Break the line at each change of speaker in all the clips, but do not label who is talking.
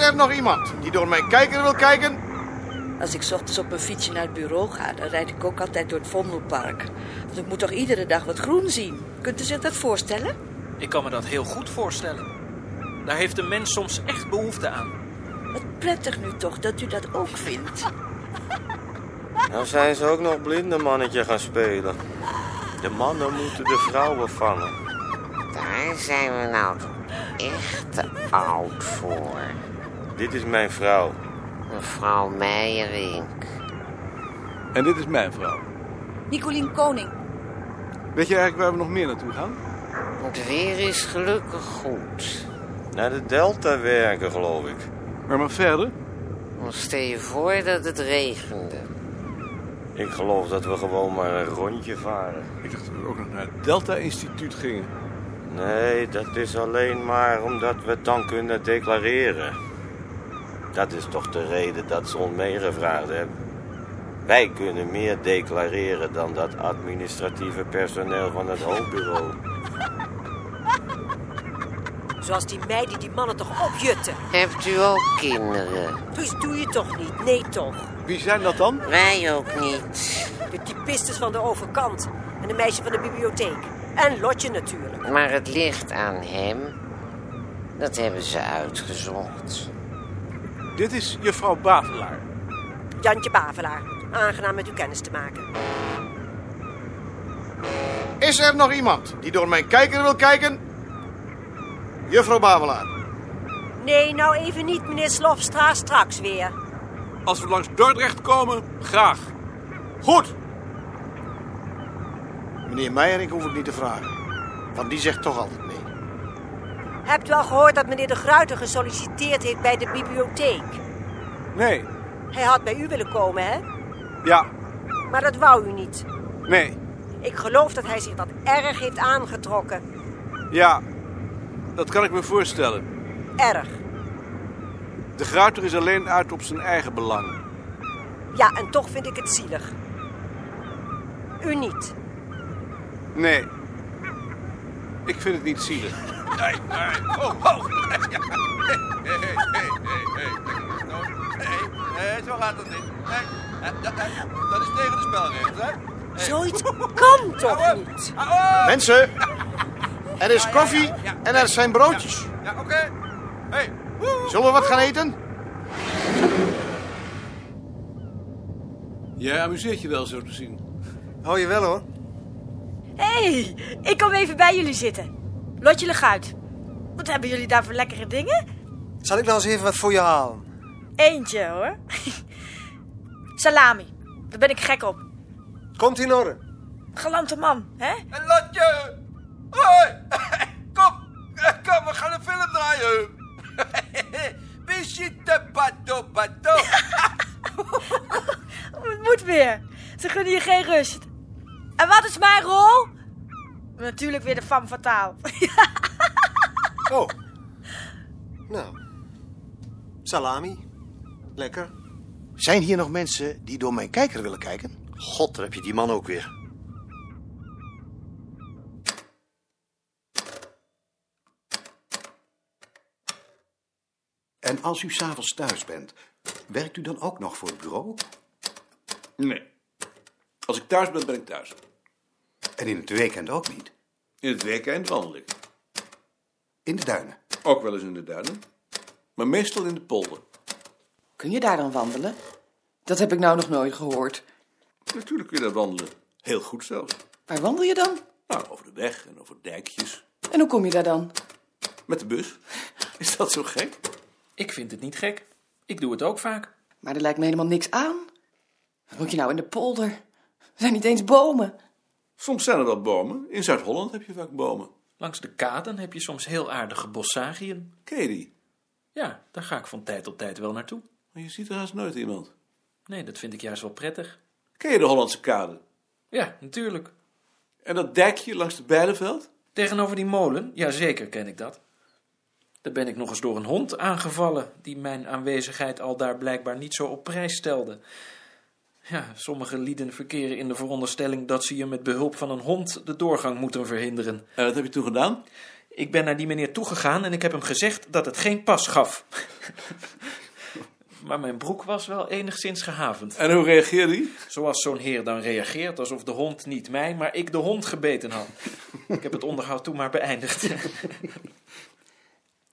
er nog iemand die door mijn kijker wil kijken?
Als ik 's ochtends op mijn fietsje naar het bureau ga, dan rijd ik ook altijd door het Vondelpark. Want ik moet toch iedere dag wat groen zien. Kunt u zich dat voorstellen?
Ik kan me dat heel goed voorstellen. Daar heeft een mens soms echt behoefte aan.
Wat prettig nu toch dat u dat ook vindt.
Nou zijn ze ook nog blinde mannetje gaan spelen. De mannen moeten de vrouwen vangen.
Daar zijn we nou toch echt te oud voor.
Dit is mijn vrouw.
Mevrouw Meijerink.
En dit is mijn vrouw.
Nicolien Koning.
Weet je eigenlijk waar we nog meer naartoe gaan?
Het weer is gelukkig goed.
Naar de delta werken, geloof ik.
Maar maar verder?
Maar stel je voor dat het regende.
Ik geloof dat we gewoon maar een rondje varen.
Ik dacht dat we ook nog naar het Delta Instituut gingen.
Nee, dat is alleen maar omdat we het dan kunnen declareren. Dat is toch de reden dat ze ons meegevraagd hebben. Wij kunnen meer declareren dan dat administratieve personeel van het hoofdbureau.
Zoals die meiden die mannen toch opjutten.
Hebt u ook kinderen?
Dus doe je toch niet? Nee toch?
Wie zijn dat dan?
Wij ook niet.
De typistes van de overkant. En de meisje van de bibliotheek. En Lotje natuurlijk.
Maar het ligt aan hem. Dat hebben ze uitgezocht.
Dit is juffrouw Bavelaar.
Jantje Bavelaar. Aangenaam met u kennis te maken.
Is er nog iemand die door mijn kijker wil kijken? Juffrouw Bavelaar.
Nee, nou even niet, meneer Slofstra. Straks weer.
Als we langs Dordrecht komen, graag.
Goed. Meneer Meijering hoef ik niet te vragen. Want die zegt toch altijd nee.
Hebt u al gehoord dat meneer De Gruiter gesolliciteerd heeft bij de bibliotheek?
Nee.
Hij had bij u willen komen, hè?
Ja.
Maar dat wou u niet.
Nee.
Ik geloof dat hij zich dat erg heeft aangetrokken.
Ja. Dat kan ik me voorstellen.
Erg.
De gruiter is alleen uit op zijn eigen belang.
Ja, en toch vind ik het zielig. U niet.
Nee. Ik vind het niet zielig.
Oh, Nee, zo gaat dat niet. Nee, eh, dat, eh, dat is tegen de spelregels, hè?
Zoiets kan toch niet?
Mensen, er is koffie en er zijn broodjes.
Ja, oké. Hey, woe.
Zullen we wat gaan eten?
Jij amuseert je wel zo te zien.
Hou je wel hoor.
hey, ik kom even bij jullie zitten. Lotje Leguit, wat hebben jullie daar voor lekkere dingen?
Zal ik nou eens even wat voor je halen?
Eentje hoor. Salami, daar ben ik gek op.
Komt in orde.
Galante man, hè?
En Lotje! Hoi! Kom! eh, Kom, we gaan een film draaien! Bichite bato bato!
Het moet weer. Ze gunnen je geen rust. En wat is mijn rol? Natuurlijk weer de femme fataal.
Oh. Nou. Salami. Lekker.
Zijn hier nog mensen die door mijn kijker willen kijken?
God, daar heb je die man ook weer.
En als u s'avonds thuis bent, werkt u dan ook nog voor het bureau?
Nee. Als ik thuis ben, ben ik thuis.
En in het weekend ook niet?
In het weekend wandel ik.
In de duinen.
Ook wel eens in de duinen. Maar meestal in de polder.
Kun je daar dan wandelen? Dat heb ik nou nog nooit gehoord.
Natuurlijk kun je daar wandelen. Heel goed zelfs.
Waar wandel je dan?
Nou, over de weg en over dijkjes.
En hoe kom je daar dan?
Met de bus. Is dat zo gek?
Ik vind het niet gek. Ik doe het ook vaak.
Maar er lijkt me helemaal niks aan. Wat moet je nou in de polder? Er zijn niet eens bomen.
Soms zijn er wel bomen. In Zuid-Holland heb je vaak bomen.
Langs de kaden heb je soms heel aardige bossagien.
Ken je die?
Ja, daar ga ik van tijd tot tijd wel naartoe.
Maar je ziet er haast nooit iemand.
Nee, dat vind ik juist wel prettig.
Ken je de Hollandse kade?
Ja, natuurlijk.
En dat dijkje langs het Beideveld?
Tegenover die molen, ja zeker ken ik dat. Daar ben ik nog eens door een hond aangevallen, die mijn aanwezigheid al daar blijkbaar niet zo op prijs stelde. Ja, sommige lieden verkeren in de veronderstelling dat ze je met behulp van een hond de doorgang moeten verhinderen.
En wat heb je toen gedaan?
Ik ben naar die meneer toegegaan en ik heb hem gezegd dat het geen pas gaf. maar mijn broek was wel enigszins gehavend.
En hoe reageerde hij?
Zoals zo'n heer dan reageert, alsof de hond niet mij, maar ik de hond gebeten had. ik heb het onderhoud toen maar beëindigd.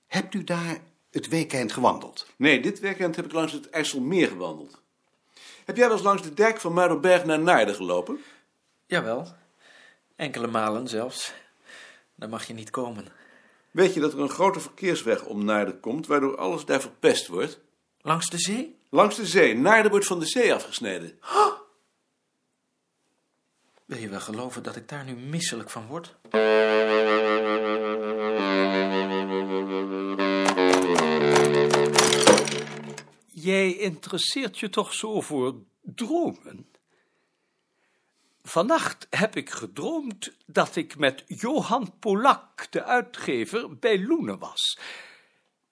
Hebt u daar het weekend gewandeld?
Nee, dit weekend heb ik langs het IJsselmeer gewandeld. Heb jij wel eens langs de dijk van Muiderberg naar Naarden gelopen?
Jawel, enkele malen zelfs. Daar mag je niet komen.
Weet je dat er een grote verkeersweg om Naarden komt, waardoor alles daar verpest wordt?
Langs de zee?
Langs de zee. Naarden wordt van de zee afgesneden.
Wil je wel geloven dat ik daar nu misselijk van word?
Jij interesseert je toch zo voor dromen? Vannacht heb ik gedroomd dat ik met Johan Polak, de uitgever, bij Loenen was.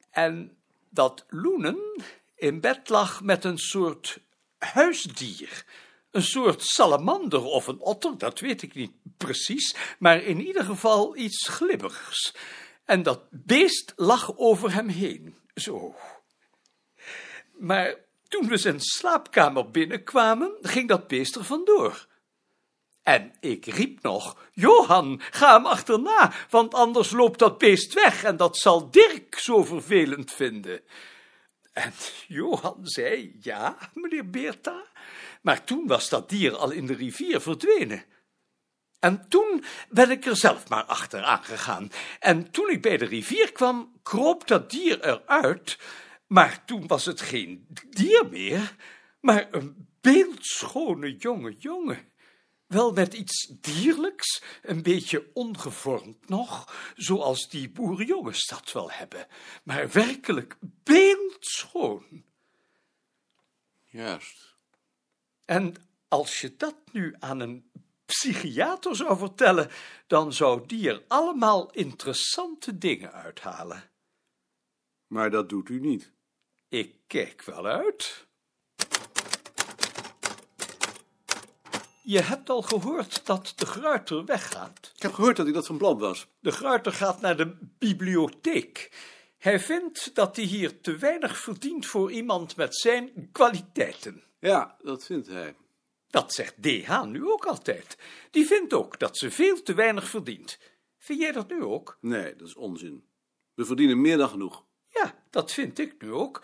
En dat Loenen in bed lag met een soort huisdier. Een soort salamander of een otter, dat weet ik niet precies, maar in ieder geval iets glibberigs. En dat beest lag over hem heen, zo. Maar toen we zijn slaapkamer binnenkwamen, ging dat beest er vandoor. En ik riep nog: Johan, ga hem achterna, want anders loopt dat beest weg en dat zal Dirk zo vervelend vinden. En Johan zei: Ja, meneer Beerta. Maar toen was dat dier al in de rivier verdwenen. En toen ben ik er zelf maar achteraan gegaan. En toen ik bij de rivier kwam, kroop dat dier eruit. Maar toen was het geen dier meer, maar een beeldschone jonge jongen. Wel met iets dierlijks, een beetje ongevormd nog, zoals die boerenjongens dat wel hebben, maar werkelijk beeldschoon.
Juist.
En als je dat nu aan een psychiater zou vertellen, dan zou die er allemaal interessante dingen uithalen.
Maar dat doet u niet.
Ik kijk wel uit. Je hebt al gehoord dat de gruiter weggaat.
Ik heb gehoord dat hij dat van plan was.
De gruiter gaat naar de bibliotheek. Hij vindt dat hij hier te weinig verdient voor iemand met zijn kwaliteiten.
Ja, dat vindt hij.
Dat zegt DH nu ook altijd. Die vindt ook dat ze veel te weinig verdient. Vind jij dat nu ook?
Nee, dat is onzin. We verdienen meer dan genoeg.
Ja, dat vind ik nu ook.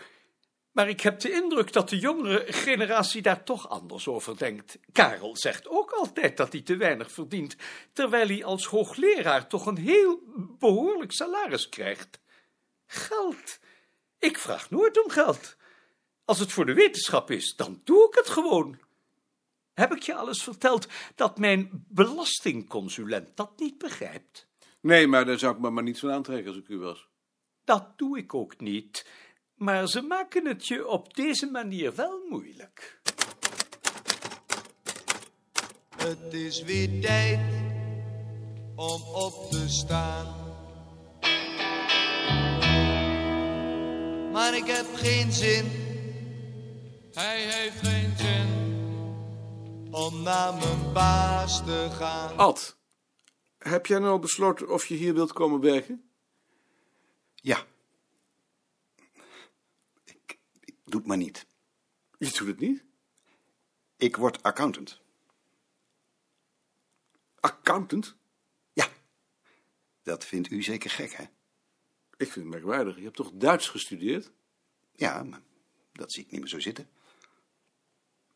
Maar ik heb de indruk dat de jongere generatie daar toch anders over denkt. Karel zegt ook altijd dat hij te weinig verdient, terwijl hij als hoogleraar toch een heel behoorlijk salaris krijgt. Geld. Ik vraag nooit om geld. Als het voor de wetenschap is, dan doe ik het gewoon. Heb ik je alles verteld dat mijn belastingconsulent dat niet begrijpt?
Nee, maar daar zou ik me maar niet van aantrekken als ik u was.
Dat doe ik ook niet maar ze maken het je op deze manier wel moeilijk.
Het is weer tijd om op te staan. Maar ik heb geen zin. Hij heeft geen zin. Om naar mijn baas te gaan.
Ad, heb jij nou al besloten of je hier wilt komen werken?
Ja. Doet maar niet.
Je doet het niet?
Ik word accountant.
Accountant?
Ja. Dat vindt u zeker gek, hè?
Ik vind het merkwaardig. Je hebt toch Duits gestudeerd?
Ja, maar dat zie ik niet meer zo zitten.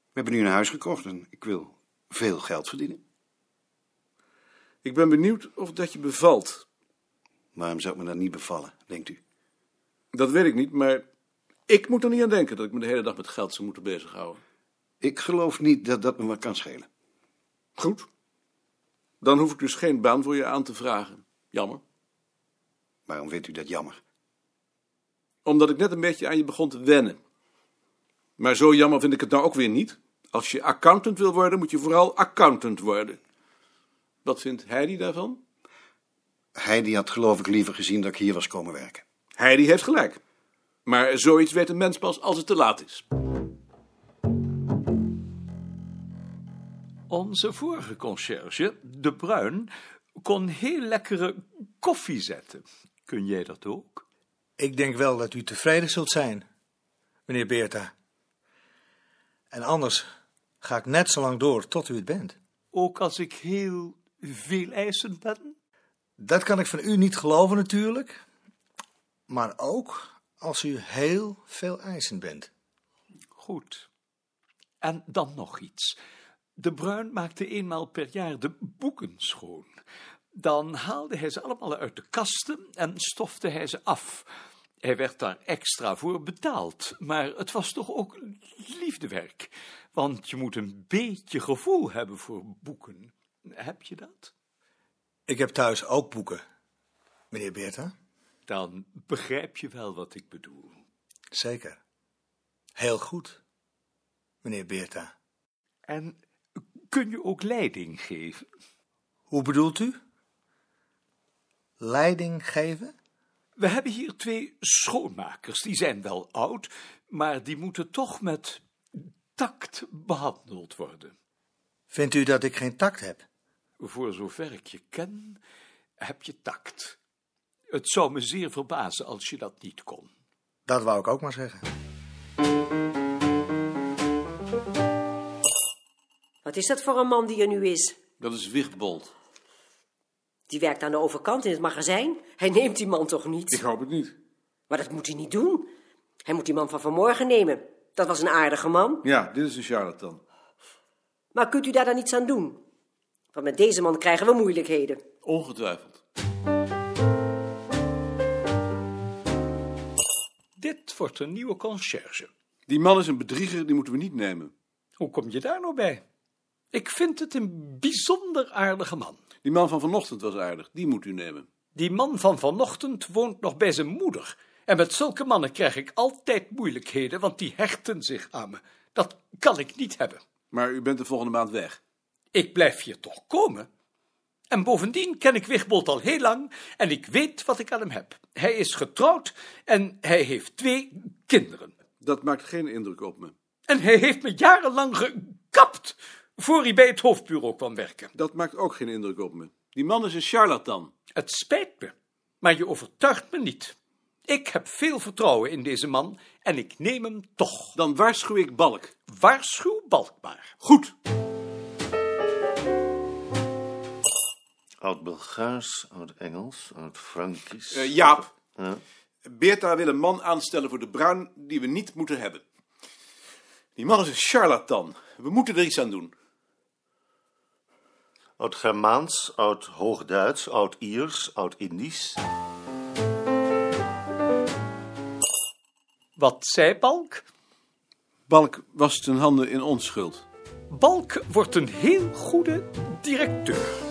We hebben nu een huis gekocht en ik wil veel geld verdienen.
Ik ben benieuwd of dat je bevalt.
Waarom zou het me dan niet bevallen, denkt u?
Dat weet ik niet, maar ik moet er niet aan denken dat ik me de hele dag met geld zou moeten bezighouden.
Ik geloof niet dat dat me wat kan schelen.
Goed. Dan hoef ik dus geen baan voor je aan te vragen. Jammer.
Waarom vindt u dat jammer?
Omdat ik net een beetje aan je begon te wennen. Maar zo jammer vind ik het nou ook weer niet. Als je accountant wil worden, moet je vooral accountant worden. Wat vindt Heidi daarvan?
Heidi had geloof ik liever gezien dat ik hier was komen werken.
Heidi heeft gelijk. Maar zoiets weet een mens pas als het te laat is.
Onze vorige conciërge, De Bruin, kon heel lekkere koffie zetten. Kun jij dat ook?
Ik denk wel dat u tevreden zult zijn. meneer Beerta. En anders ga ik net zo lang door tot u het bent.
Ook als ik heel veel eisend ben?
Dat kan ik van u niet geloven natuurlijk. Maar ook als u heel veel eisend bent.
Goed. En dan nog iets. De Bruin maakte eenmaal per jaar de boeken schoon. Dan haalde hij ze allemaal uit de kasten en stofte hij ze af. Hij werd daar extra voor betaald, maar het was toch ook liefdewerk. Want je moet een beetje gevoel hebben voor boeken. Heb je dat?
Ik heb thuis ook boeken, meneer Beerta.
Dan begrijp je wel wat ik bedoel.
Zeker. Heel goed, meneer Beerta.
En kun je ook leiding geven?
Hoe bedoelt u? Leiding geven?
We hebben hier twee schoonmakers. Die zijn wel oud, maar die moeten toch met tact behandeld worden.
Vindt u dat ik geen tact heb?
Voor zover ik je ken, heb je tact. Het zou me zeer verbazen als je dat niet kon.
Dat wou ik ook maar zeggen.
Wat is dat voor een man die er nu is?
Dat is Wichtbold.
Die werkt aan de overkant in het magazijn. Hij neemt die man toch niet?
Ik hoop het niet.
Maar dat moet hij niet doen. Hij moet die man van vanmorgen nemen. Dat was een aardige man.
Ja, dit is een charlatan.
Maar kunt u daar dan iets aan doen? Want met deze man krijgen we moeilijkheden.
Ongetwijfeld.
Dit wordt een nieuwe conciërge.
Die man is een bedrieger, die moeten we niet nemen.
Hoe kom je daar nou bij? Ik vind het een bijzonder aardige man.
Die man van vanochtend was aardig, die moet u nemen.
Die man van vanochtend woont nog bij zijn moeder. En met zulke mannen krijg ik altijd moeilijkheden, want die hechten zich aan me. Dat kan ik niet hebben.
Maar u bent de volgende maand weg.
Ik blijf hier toch komen. En bovendien ken ik Wigbold al heel lang en ik weet wat ik aan hem heb. Hij is getrouwd en hij heeft twee kinderen.
Dat maakt geen indruk op me.
En hij heeft me jarenlang gekapt voor hij bij het hoofdbureau kwam werken.
Dat maakt ook geen indruk op me. Die man is een charlatan.
Het spijt me, maar je overtuigt me niet. Ik heb veel vertrouwen in deze man en ik neem hem toch.
Dan waarschuw ik Balk.
Waarschuw Balk maar.
Goed.
Oud-Bulgaars, oud-Engels, oud-Frankisch.
Eh, Jaap.
Ja.
Beerta wil een man aanstellen voor de Bruin die we niet moeten hebben. Die man is een charlatan. We moeten er iets aan doen.
Oud-Germaans, oud-Hoogduits, oud-Iers, oud-Indisch.
Wat zei Balk?
Balk was ten handen in onschuld.
Balk wordt een heel goede directeur.